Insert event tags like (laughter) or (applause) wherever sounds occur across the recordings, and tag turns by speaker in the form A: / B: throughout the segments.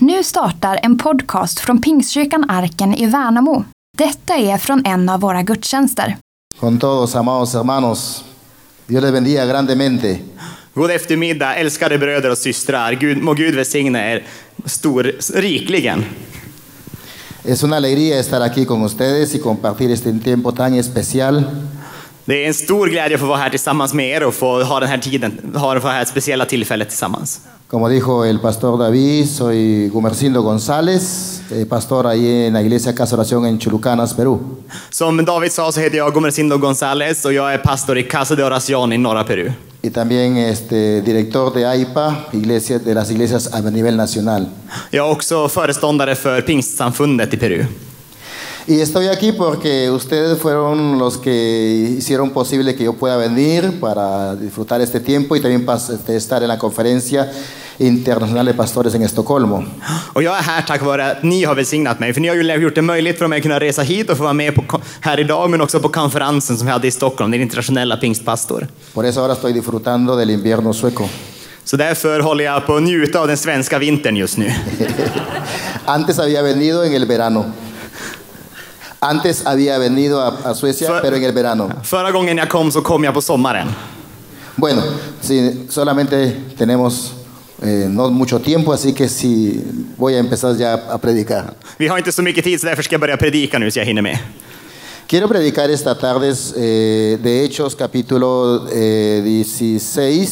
A: nu startar en podcast från Pingstkyrkan Arken i Värnamo. Detta är från en av våra gudstjänster.
B: Con todos, amados hermanos, Dios les bendiga grandemente.
C: God eftermiddag älskade bröder och systrar. Gud, må Gud välsigna er stor, rikligen.
B: Es una alegría estar aquí con ustedes y compartir este tiempo tan especial.
C: Det är en stor glädje att få vara här tillsammans med er och få ha den här tiden, ha det här speciella tillfället tillsammans.
B: Como dijo el pastor David, soy Gumercindo González, eh, pastor ahí en la iglesia Casa Oración en Chulucanas, Perú.
C: Som David sa så heter jag Gomercindo González och jag är pastor i Casa de Oración i norra Peru.
B: Y también este, director de AIPA, iglesia, de las iglesias a nivel nacional.
C: Jag är också föreståndare för Pingstsamfundet i Peru.
B: Y estoy aquí porque ustedes fueron los que hicieron posible que yo pueda venir para disfrutar este tiempo y también pas- este, estar en la conferencia internacional de pastores en Estocolmo.
C: Och jag är här tack vare att ni har välsignat mig, för ni har ju gjort det möjligt för mig att kunna resa hit och få vara med på, ko- här idag, men också på konferensen som vi hade i Stockholm, den internationella pingstpastor.
B: Por eso ahora estoy disfrutando del invierno sueco.
C: Så därför håller jag på att njuta av den svenska vintern just nu.
B: Antes había venido en el verano. Antes había venido a, a Suecia,
C: Fue-
B: pero en el verano.
C: Förra gången jag kom så kom jag på sommaren.
B: Bueno, sí, solamente tenemos eh, no mucho tiempo, así que sí, voy a empezar ya a predicar.
C: Vi har inte så mycket tid så därför ska jag börja predika nu så jag hinner med.
B: Quiero predicar esta tarde eh, de Hechos capítulo eh, 16,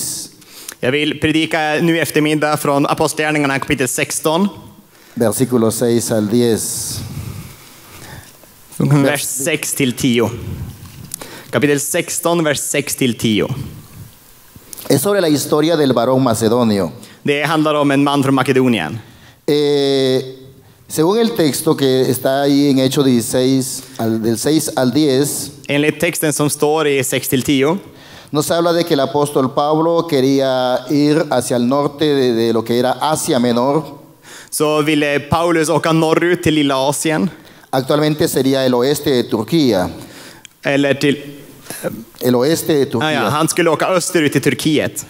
C: Jag vill predika nu i eftermiddag från Apostlagärningarna kapitel 16,
B: versículos 6 al 10.
C: vers 6 till 10. Kapitel 16, vers 6 till 10.
B: Es sobre la historia del varón macedonio.
C: Det handlar om en man från Makedonien.
B: Eh, según el texto que está ahí en Hechos 16, al- del 6 al 10,
C: Enligt texten som står i 6 till 10
B: nos habla de que el apóstol Pablo quería ir hacia el norte de, de lo que era Asia Menor,
C: så ville Paulus åka norrut till lilla Asien,
B: actualmente sería el oeste de Turquía.
C: eller till
B: El oeste de
C: Ja, ja,
B: Turquía.
C: han skulle åka österut till Turkiet.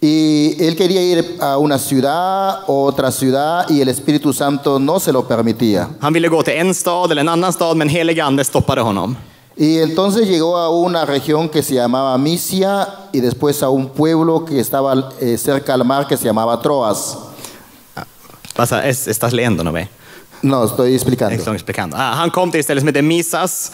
B: Y él quería ir a una ciudad, otra ciudad, y el Espíritu Santo no se lo permitía.
C: Han ville gå till en stad eller en annan stad, men helig ande stoppade honom.
B: Y entonces llegó a una región que se llamaba Misia y después a un pueblo que estaba eh, cerca al mar que se llamaba Troas.
C: Passa, es, estas lendo no mig.
B: No, estoy explicando.
C: Exlångs bekant. Ah, Han kom till ett ställe som heter Misas,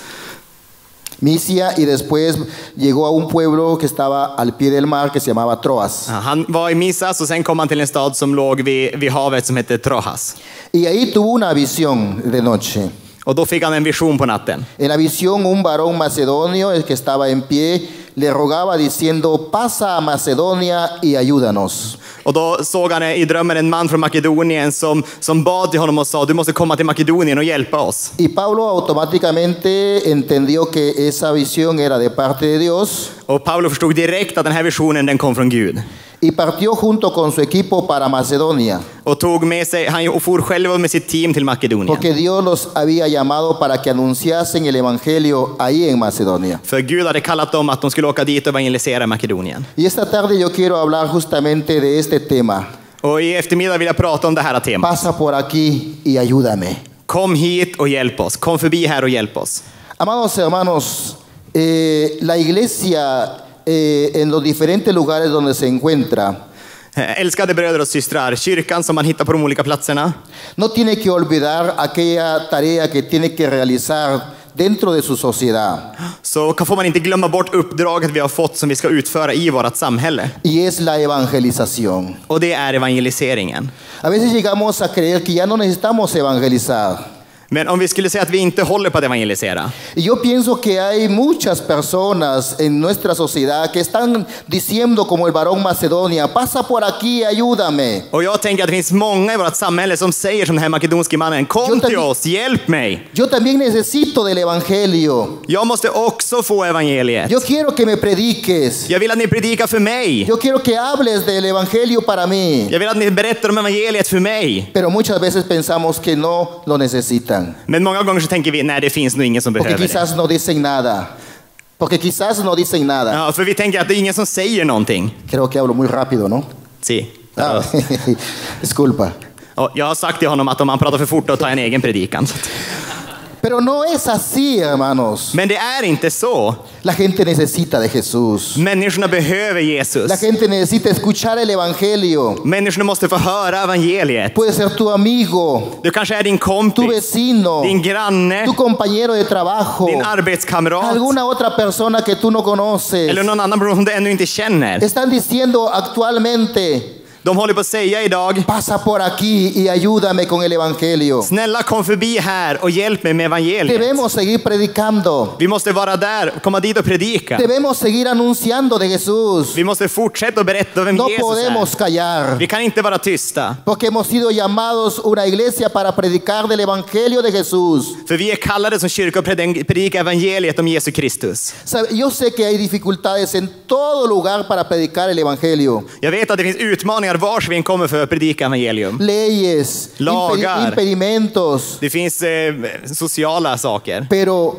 B: Misia y después llegó a un pueblo que estaba al pie del mar que se llamaba Troas.
C: Ja, Ah, Han var i Misas och sen kom han till en stad som låg vid, vid havet som hette Trojas.
B: Y ahí tuvo una visión de noche.
C: Och då fick han en vision på natten.
B: En la visión un varón macedonio, el que estaba en pie, le rogaba diciendo, pasa a Macedonia y ayúdanos.
C: Och då såg han i drömmen en man från Makedonien som, som bad till honom och sa du måste komma till Makedonien och hjälpa oss.
B: Y Pablo automáticamente entendió que esa visión era de parte de Dios
C: Och Paulus förstod direkt att den här visionen den kom från Gud.
B: y partió junto con su equipo para Macedonia,
C: Och tog med sig, han for själv med sitt team till Makedonien.
B: porque Dios los había llamado para que anunciasen el Evangelio ahí en Macedonia.
C: För Gud hade kallat dem att de skulle åka dit och evangelisera Makedonien.
B: Y esta tarde yo quiero hablar justamente de este tema.
C: Och i eftermiddag vill jag prata om det här temat.
B: Pasa por aquí y ayúdame.
C: Kom hit och hjälp oss. Kom förbi här och hjälp oss.
B: Amados hermanos, eh, la iglesia eh, en los diferentes lugares donde se encuentra
C: Eh, Älskade bröder och systrar, kyrkan som man hittar på de olika platserna,
B: no tiene que olvidar aquella tarea que tiene que realizar dentro de su sociedad
C: så kan- får man inte glömma bort uppdraget vi har fått som vi ska utföra i vårt samhälle.
B: y es la evangelización.
C: Och det är evangeliseringen.
B: A veces llegamos a creer que ya no necesitamos evangelizar.
C: Men om vi skulle säga att vi inte håller på att evangelisera,
B: Y yo pienso que hay muchas personas en nuestra sociedad que están diciendo como el varón Macedonia, pasa por aquí, ayúdame.
C: och jag tänker att det finns många i vårt samhälle som säger som den här makedonske mannen, kom
B: Jo,
C: till
B: tack.
C: oss, hjälp mig!
B: Yo también necesito del evangelio.
C: Jag måste också få evangeliet.
B: Yo quiero que me prediques.
C: Jag vill att ni predikar för mig.
B: Yo quiero que hables del evangelio para mí.
C: Jag vill att ni berättar om evangeliet för mig.
B: Pero muchas veces pensamos que no lo necesitan.
C: Men många gånger så tänker vi, nej det finns nog ingen som
B: Porque
C: behöver det.
B: quizás no dicen nada. Porque quizás no dicen nada.
C: Ja, för vi tänker att det är ingen som säger någonting.
B: Creo que hablo muy rápido, ¿no?
C: Si.
B: Ah, (laughs) disculpa.
C: Och jag har sagt till honom att om han pratar för fort då tar jag en egen predikan. Så att-
B: Pero no es así, hermanos.
C: Men det är inte så.
B: La gente necesita de Jesús.
C: Människorna behöver Jesus.
B: La gente necesita escuchar el Evangelio.
C: Människorna måste få höra evangeliet.
B: Puede ser tu amigo,
C: Du kanske är din
B: tu
C: kompis,
B: vecino,
C: din granne,
B: tu compañero de trabajo,
C: din arbetskamrat
B: alguna otra persona que tú no conoces.
C: eller någon annan person som du ännu inte känner.
B: Están diciendo actualmente,
C: De håller på att säga idag,
B: pasa por aquí y ayúdame con el Evangelio.
C: snälla kom förbi här och hjälp mig med evangeliet.
B: Debemos seguir predicando.
C: Vi måste vara där, komma dit och predika.
B: Debemos seguir anunciando de Jesús.
C: Vi måste fortsätta att berätta vem
B: No
C: Jesus är.
B: podemos callar.
C: Vi kan inte vara tysta,
B: Porque hemos sido llamados una iglesia para predicar del Evangelio de Jesús.
C: för vi är kallade som kyrka att preden- predika evangeliet om Jesus Kristus.
B: Sabe, Yo sé que hay dificultades en todo lugar para predicar el Evangelio.
C: Jag vet att det finns utmaningar vars vi än kommer för att predika evangelium.
B: Leyes, impedi-
C: Lagar.
B: impedimentos.
C: Det finns eh, sociala saker.
B: Pero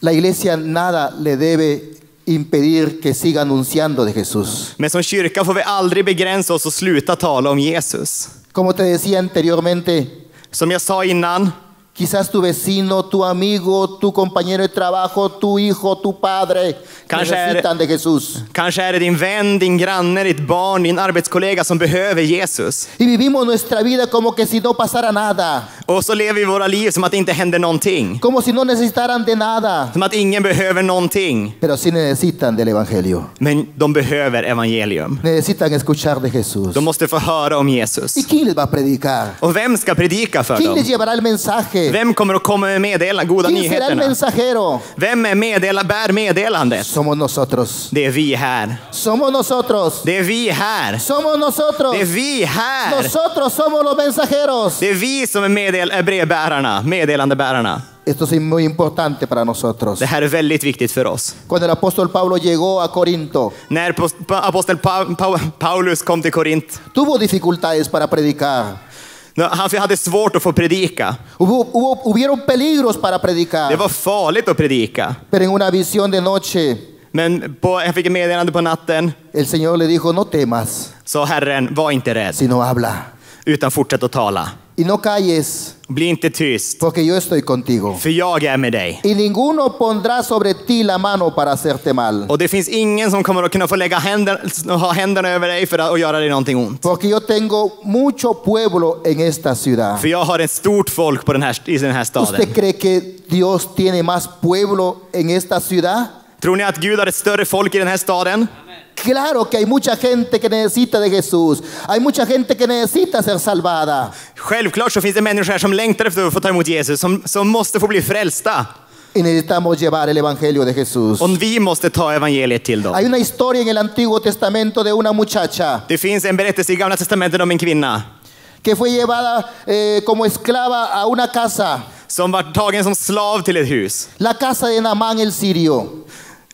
B: la iglesia nada le debe impedir que siga anunciando de Jesús.
C: Men som kyrka får vi aldrig begränsa oss och sluta tala om Jesus.
B: Como te decía anteriormente,
C: Som jag sa innan,
B: quizás tu vecino, tu amigo, tu compañero de trabajo, tu hijo, tu padre
C: Kanske är-
B: necesitan de Jesús.
C: kanske är det din vän, din granne, ditt barn, din arbetskollega som behöver Jesus.
B: Y vivimos nuestra vida como que si no pasara nada,
C: Och så lever vi våra liv som att det inte händer någonting.
B: como si no necesitaran de nada.
C: Som att ingen behöver någonting.
B: Pero sí necesitan del Evangelio.
C: Men de behöver evangelium.
B: Necesitan escuchar de Jesús.
C: De måste få höra om Jesus.
B: ¿Y quién les va a predicar?
C: Och vem ska predika för
B: ¿Quién les
C: dem?
B: llevará el mensaje?
C: Vem kommer att komma med meddela, goda
B: ¿Quién será el
C: nyheterna?
B: mensajero?
C: Vem är meddela, bär meddelandet?
B: Somos nosotros.
C: Det är vi här.
B: Somos nosotros.
C: Det är vi här.
B: Somos nosotros.
C: Det är vi här.
B: Nosotros somos los mensajeros.
C: Det är vi som är meddel- äh, brevbärarna, meddelandebärarna.
B: Esto es muy importante para nosotros.
C: Det här är väldigt viktigt för oss.
B: Cuando el apóstol Pablo llegó a Corinto,
C: När pos- pa- aposteln pa- pa- Paulus kom till Korint,
B: tuvo dificultades para predicar.
C: han hade svårt att få predika.
B: Hubo, hubo- hubieron peligros para predicar.
C: Det var farligt att predika.
B: Pero en una visión de noche,
C: Men på, jag fick ett meddelande på natten,
B: el Señor le dijo, no temas,
C: sa Herren, var inte rädd,
B: sino habla.
C: utan fortsätt att tala.
B: Y no calles,
C: Bli inte tyst,
B: porque yo estoy contigo.
C: för jag är med dig.
B: Y ninguno pondrá sobre ti la mano para hacerte mal.
C: Och det finns ingen som kommer att kunna få lägga händer, ha händerna över dig för att och göra dig någonting ont.
B: Porque yo tengo mucho pueblo en esta ciudad.
C: För jag har ett stort folk på den här, i den här staden.
B: ¿Usted cree que Dios tiene más pueblo en esta ciudad?
C: Tror ni att Gud har ett större folk i den här staden?
B: Claro que hay mucha gente que necesita de Jesús. Hay mucha gente que necesita ser salvada.
C: Självklart så finns det människor här som längtar efter att få ta emot Jesus, som, som måste få bli frälsta.
B: Y necesitamos llevar el Evangelio de Jesús.
C: Och vi måste ta evangeliet till dem.
B: Hay una historia en el Antiguo Testamento de una muchacha
C: Det finns en berättelse i Gamla Testamentet om en kvinna
B: que fue llevada eh, como esclava a una casa,
C: som var tagen som slav till ett hus.
B: la casa de Naamán el sirio.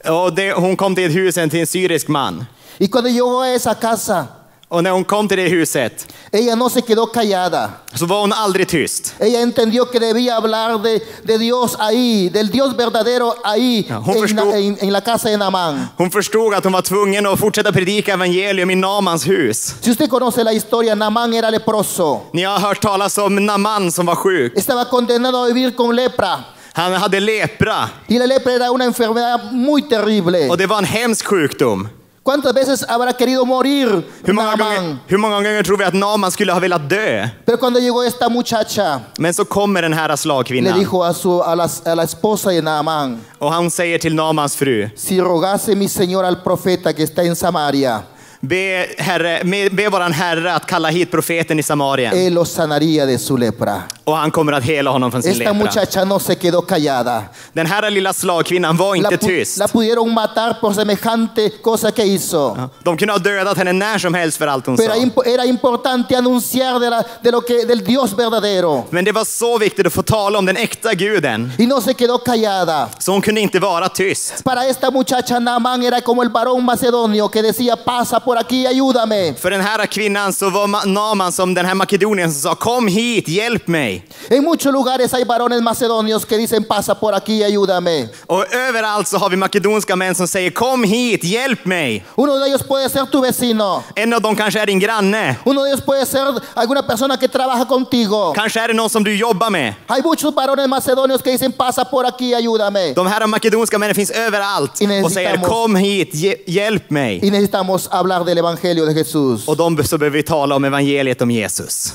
C: Och det, hon kom till ett hus till en syrisk man.
B: Y cuando llegó a esa casa,
C: Och när hon kom till det huset
B: ella no se quedó callada.
C: så var hon aldrig tyst.
B: Ella entendió que debía hablar de, de Dios ahí, del Dios verdadero ahí,
C: Ah,
B: en,
C: justo.
B: Na- en- en la casa de Naamán.
C: Hon förstod att hon var tvungen att fortsätta predika evangelium i Namans hus.
B: Si usted conoce la historia, Naamán era leproso.
C: Ni har hört talas om Naman som var sjuk.
B: Estaba condenado a vivir con lepra.
C: Han hade lepra
B: Y la lepra era una enfermedad muy terrible.
C: och det var en hemsk sjukdom.
B: ¿Cuántas veces habrá querido morir
C: Hur många,
B: Naamán?
C: gånger, hur många gånger tror vi att Naman skulle ha velat dö?
B: Pero cuando llegó esta muchacha,
C: Men så kommer den här
B: le
C: slagkvinnan
B: dijo a, su, a, la, a la esposa de Naamán,
C: och han säger till Namans fru,
B: si rogase mi señor al profeta que está en Samaria,
C: be, herre, be, be våran herre att kalla hit profeten i Samarien
B: él lo sanaría de su lepra.
C: och han kommer att hela honom från sin
B: Esta
C: lepra.
B: muchacha no se quedó callada.
C: Den här lilla slagkvinnan var
B: La,
C: inte
B: pu-
C: tyst.
B: la pudieron matar por semejante cosa que hizo.
C: De kunde ha dödat henne när som helst för allt hon
B: Pero
C: sa.
B: imp- era importante anunciar de, la- de lo que, del Dios verdadero.
C: Men det var så viktigt att få tala om den äkta guden,
B: Y no se quedó callada.
C: så hon kunde inte vara tyst.
B: Para esta muchacha Naamán era como el varón macedonio que decía, pasa por por aquí, ayúdame.
C: För den här kvinnan så var Ma- Naman som den här makedonien som sa kom hit, hjälp mig.
B: En muchos lugares hay varones macedonios que dicen, pasa por aquí, ayúdame.
C: Och överallt så har vi makedonska män som säger kom hit, hjälp mig.
B: Uno de ellos puede ser tu vecino.
C: En av dem kanske är din granne.
B: Uno de ellos puede ser alguna persona que trabaja contigo.
C: Kanske är det någon som du jobbar med.
B: Hay muchos varones macedonios que dicen, pasa por aquí, ayúdame.
C: De här makedonska männen finns överallt
B: Innan
C: och säger
B: sittamos.
C: kom hit, hje- hjälp mig.
B: Y necesitamos hablar del Evangelio de Jesús.
C: Och de så behöver vi tala om evangeliet om Jesus.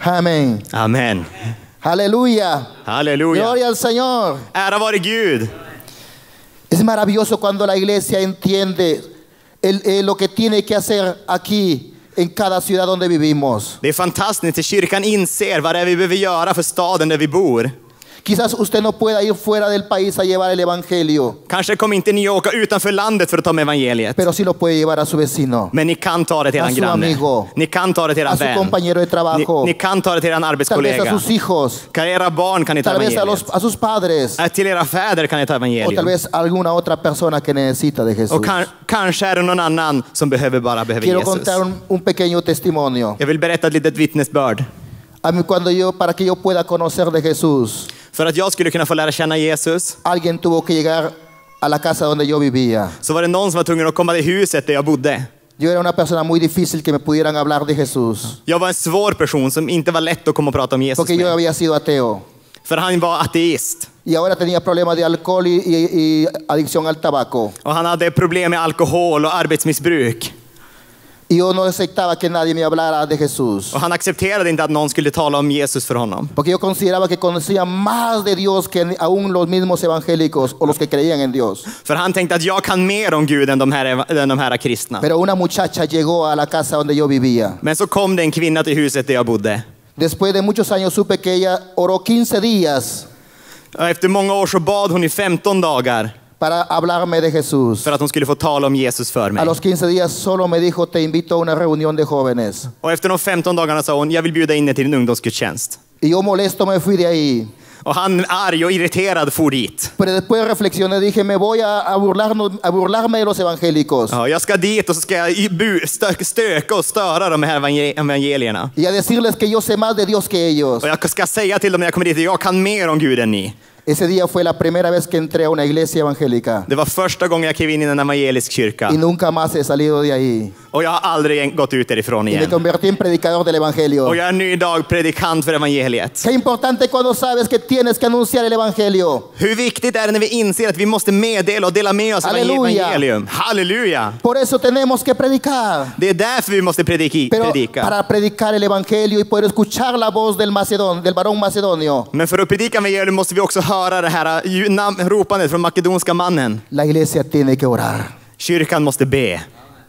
B: Amén.
C: Amen.
B: Aleluya.
C: Halleluja.
B: Gloria al Señor.
C: Ära vare Gud.
B: Es maravilloso cuando la iglesia entiende el- eh, lo que tiene que hacer aquí, en cada ciudad donde vivimos.
C: Det är fantastiskt när kyrkan inser vad det är vi behöver göra för staden där vi bor.
B: Quizás usted no pueda ir fuera del país a llevar el Evangelio,
C: Kanske kommer inte ni åka utanför landet för att ta med evangeliet.
B: pero sí lo puede llevar a su vecino,
C: Men ni kan ta det till
B: A
C: eran
B: su
C: granne.
B: amigo.
C: Ni kan ta det till
B: a
C: eran
B: su
C: vän.
B: compañero de
C: Ni,
B: trabajo,
C: ni kan ta det till eran
B: tal vez a
C: arbetskollega.
B: sus hijos,
C: Kan era barn kan ni ta
B: tal vez a,
C: evangeliet.
B: los, a sus padres
C: Äh, Till era fäder kan ni ta
B: o tal
C: evangeliet.
B: vez a alguna otra persona que necesita de Jesús.
C: Och kan, kanske är det någon annan som behöver bara behöver
B: Quiero
C: Jesus.
B: contar un, un pequeño testimonio.
C: Jag vill berätta ett litet vittnesbörd.
B: A mí cuando yo, para que yo pueda conocer de Jesús,
C: För att jag skulle kunna få lära känna Jesus
B: alguien tuvo que llegar a la casa donde yo vivía.
C: så var det någon som var tvungen att komma till huset där jag bodde.
B: Yo era una persona muy difícil que me pudieran hablar de Jesús,
C: Jag var en svår person som inte var lätt att komma och prata om Jesus
B: porque yo
C: med.
B: había sido ateo
C: För han var ateist.
B: y ahora tenía problemas de alcohol y, y- y adicción al tabaco.
C: Och han hade problem med alkohol och arbetsmissbruk.
B: Y yo no aceptaba que nadie me hablara de Jesús,
C: Och han accepterade inte att någon skulle tala om Jesus för honom.
B: porque yo consideraba que conocía más de Dios que aún los mismos evangélicos o los que creían en Dios.
C: För han tänkte att jag kan mer om Gud än de här, än de här kristna.
B: Pero una muchacha llegó a la casa donde yo vivía.
C: Men så kom det en kvinna till huset där jag bodde.
B: Después de muchos años supe que ella oró 15 días
C: Och Efter många år så bad hon i 15 dagar
B: para hablarme de Jesús.
C: för att hon skulle få tala om Jesus för
B: A
C: mig.
B: los 15 días solo me dijo, te invito a una reunión de jóvenes.
C: Och efter de 15 dagarna sa hon, jag vill bjuda in dig till en ungdomsgudstjänst.
B: Y yo molesto me fui de ahí.
C: Och han arg och irriterad for dit.
B: Pero después reflexioné, dije, me voy a, a burlarnos- a burlarme de los evangélicos
C: Ja, jag ska dit och så ska jag i bu- stö- stöka och störa de här evangel- evangelierna.
B: y a decirles que yo sé más de Dios que ellos.
C: Och jag ska säga till dem när jag kommer dit, jag kan mer om Gud än ni.
B: Ese día fue la primera vez que entré a una iglesia evangélica
C: Det var första gången jag klev in i en evangelisk
B: y
C: kyrka.
B: nunca más he salido de ahí.
C: Och jag har aldrig gått ut därifrån
B: Y me
C: igen.
B: convertí en predicador del evangelio.
C: Och jag är nu idag predikant för evangeliet.
B: Qué importante cuando sabes que tienes que anunciar el evangelio.
C: Hur viktigt är det när vi inser att vi måste meddela och dela med oss av
B: Halleluja.
C: evangelium? Halleluja!
B: Por eso tenemos que predicar.
C: Det är därför vi måste prediki,
B: Pero
C: predika.
B: para predicar el evangelio y poder escuchar la voz del macedón, del varón macedonio,
C: Men för att predika evangelium måste vi också höra det här eh, ju- nam- ropandet från makedonska mannen.
B: la iglesia tiene que orar.
C: Kyrkan måste be.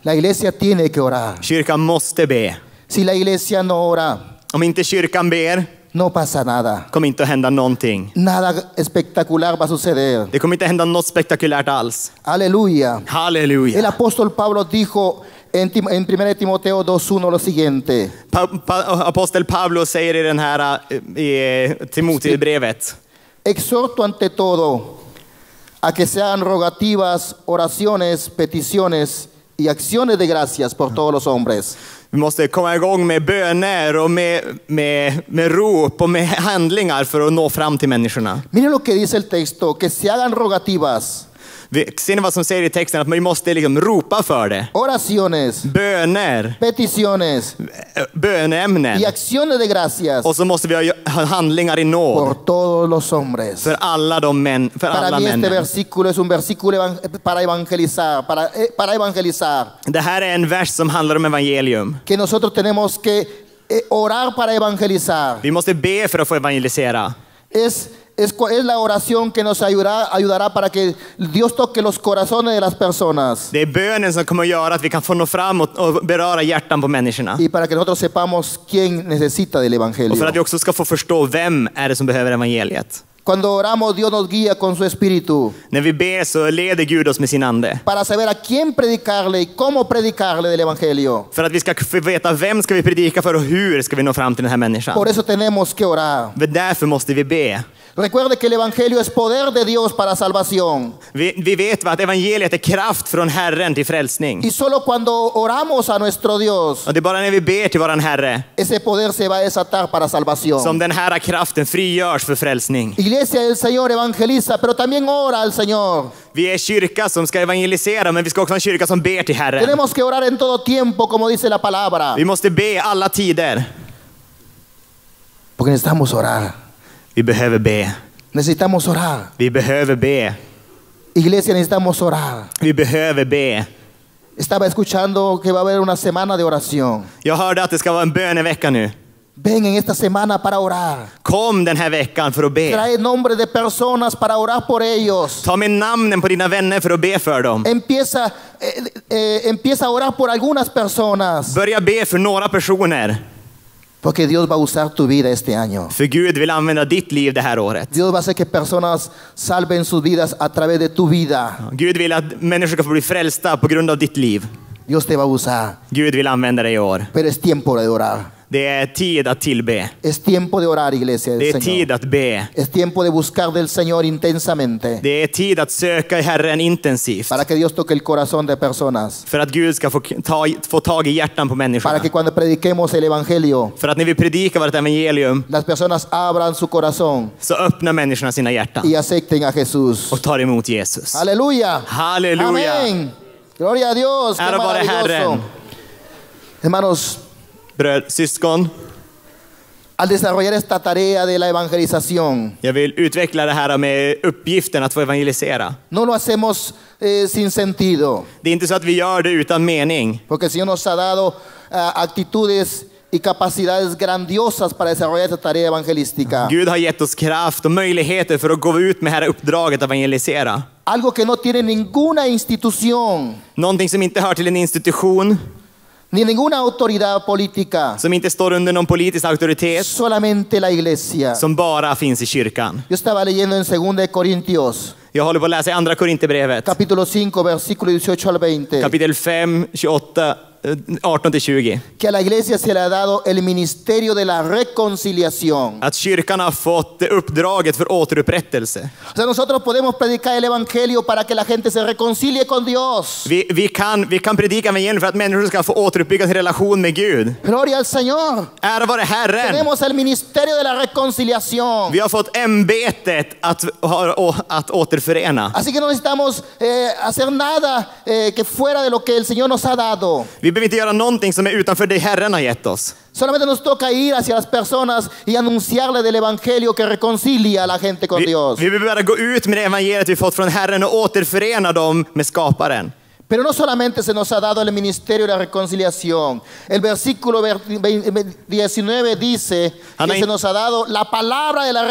B: La iglesia tiene que orar.
C: Kyrkan måste be.
B: Si la iglesia no ora,
C: Om inte kyrkan ber
B: no pasa nada.
C: kommer inte att hända någonting.
B: Nada espectacular va a suceder.
C: Det kommer inte hända något spektakulärt alls.
B: Aleluya. El
C: Halleluja!
B: apóstol Pablo dijo en, Tim- en 1 Timoteo 2.1 lo siguiente.
C: Pa, pa, apostel Paulus säger i den här eh, i Timoteusbrevet.
B: Exhorto ante todo a que sean rogativas, oraciones, peticiones y acciones de gracias por todos los hombres.
C: Vi måste komma igång med böner och med, med, med rop och med handlingar för att nå fram till människorna.
B: Miren lo que dice el texto, que se hagan rogativas,
C: Vi, ser ni vad som säger i texten? Att vi måste liksom ropa för det.
B: oraciones,
C: Böner,
B: peticiones
C: eh, bönämnen.
B: y acciones de gracias
C: Och så måste vi ha- ha handlingar i nåd
B: por todos los hombres.
C: för alla de män, för
B: Para
C: alla
B: mí este
C: männen.
B: versículo es un versículo evan- para evangelizar, para, eh, para evangelizar,
C: Det här är en vers som handlar om evangelium.
B: que nosotros tenemos que eh, orar para evangelizar.
C: Vi måste be för att få evangelisera.
B: Es, es, cua- es la oración que nos ayudará, ayudará para que Dios toque los corazones de las personas
C: Det är bönen som kommer att göra att vi kan få nå fram och, och beröra hjärtan på människorna.
B: y para que nosotros sepamos quién necesita del
C: Och för
B: Evangelio.
C: att vi också ska få förstå vem är det som behöver evangeliet.
B: Cuando oramos, Dios nos guía con su espíritu
C: När vi ber så leder Gud oss med sin ande.
B: para saber a quién predicarle y cómo predicarle del evangelio.
C: För att vi ska få veta vem ska vi predika för och hur ska vi nå fram till den här människan.
B: Por eso tenemos que orar.
C: För därför måste vi be.
B: Recuerde que el evangelio es poder de Dios para salvación.
C: Vi, vi vet va, att evangeliet är kraft från Herren till frälsning.
B: Y solo cuando oramos a nuestro Dios,
C: Och det är bara när vi ber till våran Herre
B: ese poder se va a desatar para
C: som
B: salvación.
C: den här kraften frigörs för frälsning.
B: Iglesia del Señor evangeliza, pero también ora al Señor.
C: Vi är kyrka som ska evangelisera, men vi ska också vara en kyrka som ber till Herren.
B: Tenemos que orar en todo tiempo, como dice la palabra.
C: Vi måste be alla tider.
B: Porque necesitamos orar.
C: Vi behöver be.
B: Necesitamos orar.
C: Vi behöver be.
B: Iglesia, necesitamos orar.
C: Vi behöver be.
B: Estaba escuchando que va a haber una semana de oración.
C: Jag hörde att det ska vara en bönevecka nu.
B: Ven en esta semana para orar.
C: Kom den här veckan för att be.
B: Trae nombre de personas para orar por ellos.
C: Ta med namnen på dina vänner för att be för dem.
B: Empieza, eh, eh, empieza a orar por algunas personas.
C: Börja be för några personer.
B: Porque Dios va a usar tu vida este año.
C: För Gud vill använda ditt liv det här året.
B: Dios va a hacer que personas salven sus vidas a través de tu vida.
C: Gud vill att människor ska få bli frälsta på grund av ditt liv.
B: Dios te va a usar.
C: Gud vill använda dig i år.
B: Pero es tiempo de orar.
C: Det är tid att tillbe.
B: Es tiempo de orar, iglesia
C: Det är
B: del Señor.
C: tid att be.
B: Es tiempo de buscar del Señor intensamente.
C: Det är tid att söka i Herren intensivt.
B: Para que Dios toque el corazón de personas.
C: För att Gud ska få, ta, få tag i hjärtan på
B: Para
C: människorna.
B: que cuando prediquemos el Evangelio,
C: För att när vi predikar vårt evangelium
B: las personas abran su corazón
C: så öppnar människorna sina hjärtan
B: y acepten a Jesús.
C: och tar emot Jesus.
B: Aleluya.
C: Aleluya.
B: Amén. Gloria a Dios. Qué
C: Ära vare
B: maravilloso.
C: Herren.
B: Hermanos,
C: Bröd, syskon,
B: al desarrollar esta tarea de la evangelización,
C: jag vill utveckla det här med uppgiften att få evangelisera.
B: no lo hacemos eh, sin sentido,
C: Det är inte så att vi gör det utan mening.
B: porque el Señor nos ha dado ah, actitudes y capacidades grandiosas para desarrollar esta tarea evangelística.
C: Gud har gett oss kraft och möjligheter för att gå ut med det här uppdraget att evangelisera.
B: Algo que no tiene ninguna institución
C: Någonting som inte hör till en institution,
B: ni ninguna autoridad política,
C: som inte står under någon politisk auktoritet,
B: solamente la iglesia.
C: som bara finns i kyrkan.
B: Yo estaba leyendo en 2 de Corintios,
C: Jag håller på att läsa i Andra Korinthierbrevet,
B: capítulo 5, versículo 18 al 20.
C: kapitel eh, 5, 28, 18-20.
B: que a la iglesia se le ha dado el ministerio de la reconciliación.
C: Att kyrkan har fått uppdraget för återupprättelse.
B: O sea, nosotros podemos predicar el evangelio para que la gente se reconcilie con Dios.
C: Vi, vi, kan, vi kan predika evangelium för att människor ska få återuppbygga sin relation med Gud.
B: Gloria al Señor.
C: Ära vare Herren!
B: Tenemos el ministerio de la reconciliación.
C: Vi har fått ämbetet att, ha- att återförena.
B: Así que no necesitamos eh, hacer nada eh, que fuera de lo que el Señor nos ha dado.
C: Vi behöver inte göra någonting som är utanför det Herren har gett oss.
B: Solamente nos toca ir hacia las personas y anunciarle del evangelio que reconcilia a la gente con
C: Vi,
B: Dios.
C: vi behöver bara gå ut med det evangeliet vi fått från Herren och återförena dem med skaparen.
B: Pero no solamente se nos ha dado el ministerio de la reconciliación. El versículo ver- vein- ve- 19 dice que
C: Amén.
B: se nos ha dado la palabra de la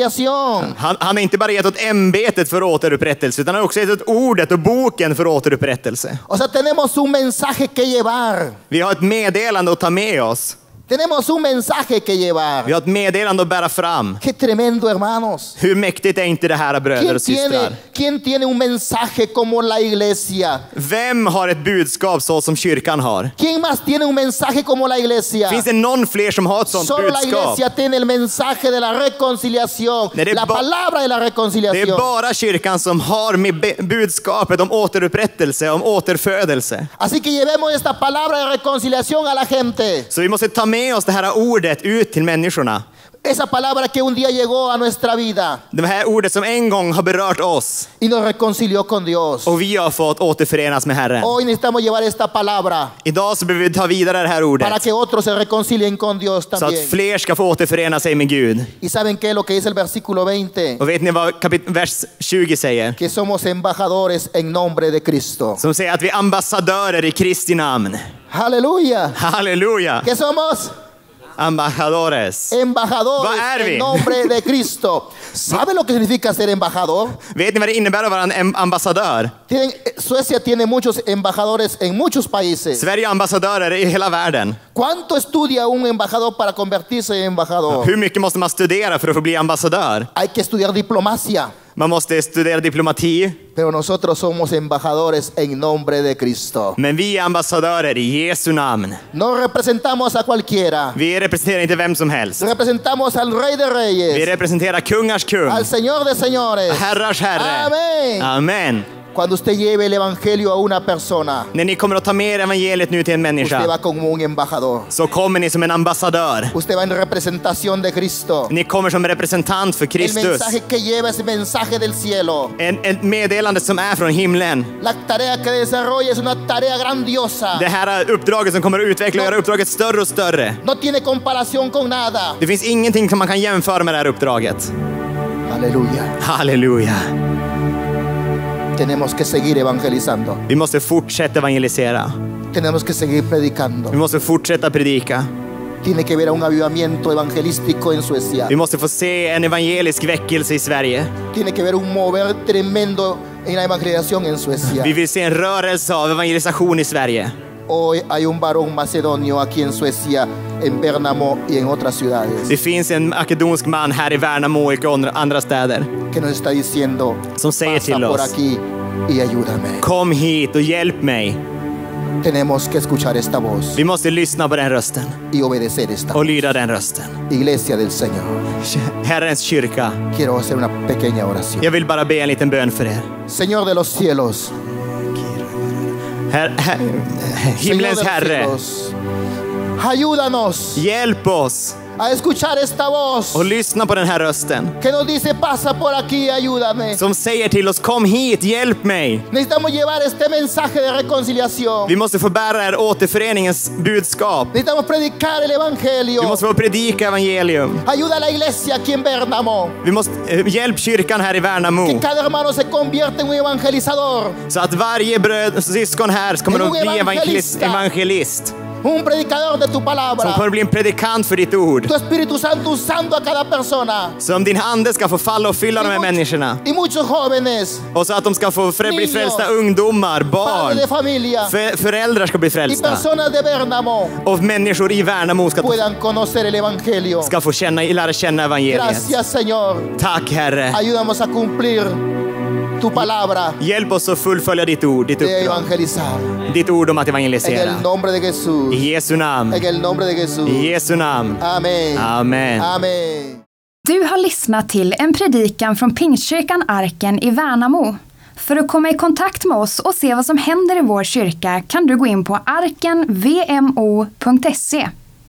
B: reconciliación.
C: Han, han har inte bara gett åt ämbetet för återupprättelse, utan han har också gett åt ordet och boken för återupprättelse.
B: O sea, tenemos un mensaje que llevar.
C: Vi har ett meddelande att ta med oss.
B: Tenemos un mensaje que
C: Vi
B: llevar.
C: har ett meddelande att bära fram.
B: Qué tremendo, hermanos.
C: Hur mäktigt är inte det här, bröder
B: ¿Quién
C: och systrar?
B: tiene, quién tiene un mensaje como la iglesia?
C: Vem har ett budskap så som kyrkan har?
B: ¿Quién más tiene un mensaje como la iglesia?
C: Finns det någon fler som har ett sånt
B: Solo la
C: budskap?
B: iglesia tiene el mensaje de la reconciliación,
C: När det är
B: la
C: ba-
B: palabra de la
C: Det är
B: reconciliación.
C: bara kyrkan som har med be- budskapet om återupprättelse, om återfödelse.
B: Así que llevemos esta palabra de reconciliación a la gente.
C: Så vi måste ta med oss det här ordet ut till människorna.
B: Esa palabra que un día llegó a nuestra vida
C: Det här ordet som en gång har berört oss
B: y nos reconcilió con Dios.
C: och vi har fått återförenas med Herren.
B: Hoy necesitamos llevar esta palabra
C: Idag så behöver vi ta vidare det här
B: para
C: ordet
B: que otros se reconcilien con Dios
C: så att
B: también.
C: fler ska få återförena sig med Gud.
B: Y saben qué es lo que dice el versículo 20,
C: Och vet ni vad kapit- vers 20 säger?
B: que somos embajadores en nombre de Cristo.
C: Som säger att vi är ambassadörer i Kristi namn.
B: Aleluya.
C: Halleluja!
B: ¿Qué somos?
C: Ambassadores.
B: Embajadores
C: Va, Erwin.
B: en nombre de Cristo. ¿Sabe lo que significa ser embajador?
C: Vet ni vad det innebär att vara en em- ambassadör?
B: Tienen- eh, Suecia tiene muchos embajadores en muchos países.
C: Sverige har ambassadörer i hela världen.
B: ¿Cuánto estudia un embajador para convertirse en embajador?
C: Hur mycket måste man studera för att få bli ambassadör?
B: Hay que estudiar diplomacia,
C: Man måste studera diplomati.
B: pero nosotros somos embajadores en nombre de Cristo.
C: Men vi är ambassadörer i Jesu namn.
B: No representamos a cualquiera.
C: Vi representerar inte vem som helst.
B: Representamos al Rey de
C: Vi
B: Reyes,
C: representerar kungars kung,
B: al Señor de Señores.
C: herrars herre.
B: Amen.
C: Amen.
B: Cuando usted lleve el Evangelio a una persona,
C: När ni kommer att ta med er evangeliet nu till en
B: usted
C: människa
B: va como un embajador.
C: så kommer ni som en ambassadör.
B: Usted va en representación de Cristo.
C: Ni kommer som representant för
B: El
C: Kristus.
B: mensaje que lleva es el mensaje del cielo.
C: En, ett meddelande som är från himlen.
B: La tarea que desarrolla es una tarea grandiosa.
C: Det här uppdraget som kommer att utveckla och göra uppdraget större och större.
B: No tiene comparación con nada.
C: Det finns ingenting som man kan jämföra med det här uppdraget.
B: Aleluya.
C: Halleluja!
B: Tenemos que seguir evangelizando.
C: Vi måste fortsätta evangelisera.
B: Tenemos que seguir predicando.
C: Vi måste fortsätta predika.
B: Tiene que haber un avivamiento evangelístico en Suecia.
C: Vi måste få se en evangelisk väckelse i Sverige.
B: Tiene que haber un mover tremendo en la evangelización en Suecia.
C: Vi vill se en rörelse av evangelisation i Sverige.
B: Hoy hay un varón macedonio aquí en Suecia, en Bernamo y en otras ciudades,
C: Det finns en makedonsk man här i Värnamo och i andra- andra städer
B: que nos está diciendo,
C: som säger
B: pasa
C: till
B: por
C: oss.
B: aquí y ayúdame.
C: Kom hit och hjälp mig.
B: Tenemos que escuchar esta voz
C: Vi måste lyssna på den rösten
B: y obedecer esta
C: och lyda den rösten.
B: iglesia del Señor.
C: Herrens kyrka,
B: Quiero hacer una pequeña oración.
C: jag vill bara be en liten bön för er.
B: Señor de los cielos,
C: Her, her,
B: Señor
C: himlens
B: de los
C: Herre,
B: cielos, ayúdanos
C: hjälp oss
B: a escuchar esta voz
C: och lyssna på den här rösten
B: que nos dice, pasa por aquí y ayúdame.
C: som säger till oss kom hit, hjälp mig.
B: Necesitamos llevar este mensaje de reconciliación.
C: Vi måste få bära er återföreningens budskap.
B: Necesitamos predicar el
C: Vi
B: Evangelio.
C: måste få predika evangelium.
B: Ayuda a la iglesia aquí en Bernamo.
C: Vi måste, eh, hjälp kyrkan här i
B: Que
C: Värnamo
B: cada hermano se convierta en un evangelizador,
C: så att varje bröd, syskon här kommer att bli evangelist, evangelist
B: un predicador de tu
C: som kommer
B: palabra.
C: att bli en predikant för ditt ord.
B: Tu Espíritu Santo usando a cada persona.
C: Som din ande ska få falla och fylla de här
B: much-
C: människorna.
B: y muchos jóvenes,
C: Och så att de ska få frä, bli
B: Niños.
C: frälsta ungdomar,
B: padres
C: barn,
B: de familia
C: för, föräldrar ska bli
B: y
C: frälsta.
B: personas de Bernamo
C: Och människor i Värnamo ska,
B: puedan conocer el Evangelio.
C: ska få känna, lära känna evangeliet.
B: Gracias Señor.
C: Tack Herre.
B: Ayúdanos a cumplir tu palabra
C: Hjälp oss att fullfölja ditt ord, ditt
B: de
C: uppdrag.
B: evangelizar.
C: Ditt ord om att
B: En
C: evangelisera.
B: el nombre de Jesús.
C: I Jesu namn.
B: En el nombre de Jesús.
C: I Jesu namn.
B: Amén.
C: Amen.
B: Amén.
A: Du har lyssnat till en predikan från Pingstkyrkan Arken i Värnamo. För att komma i kontakt med oss och se vad som händer i vår kyrka kan du gå in på arkenvmo.se.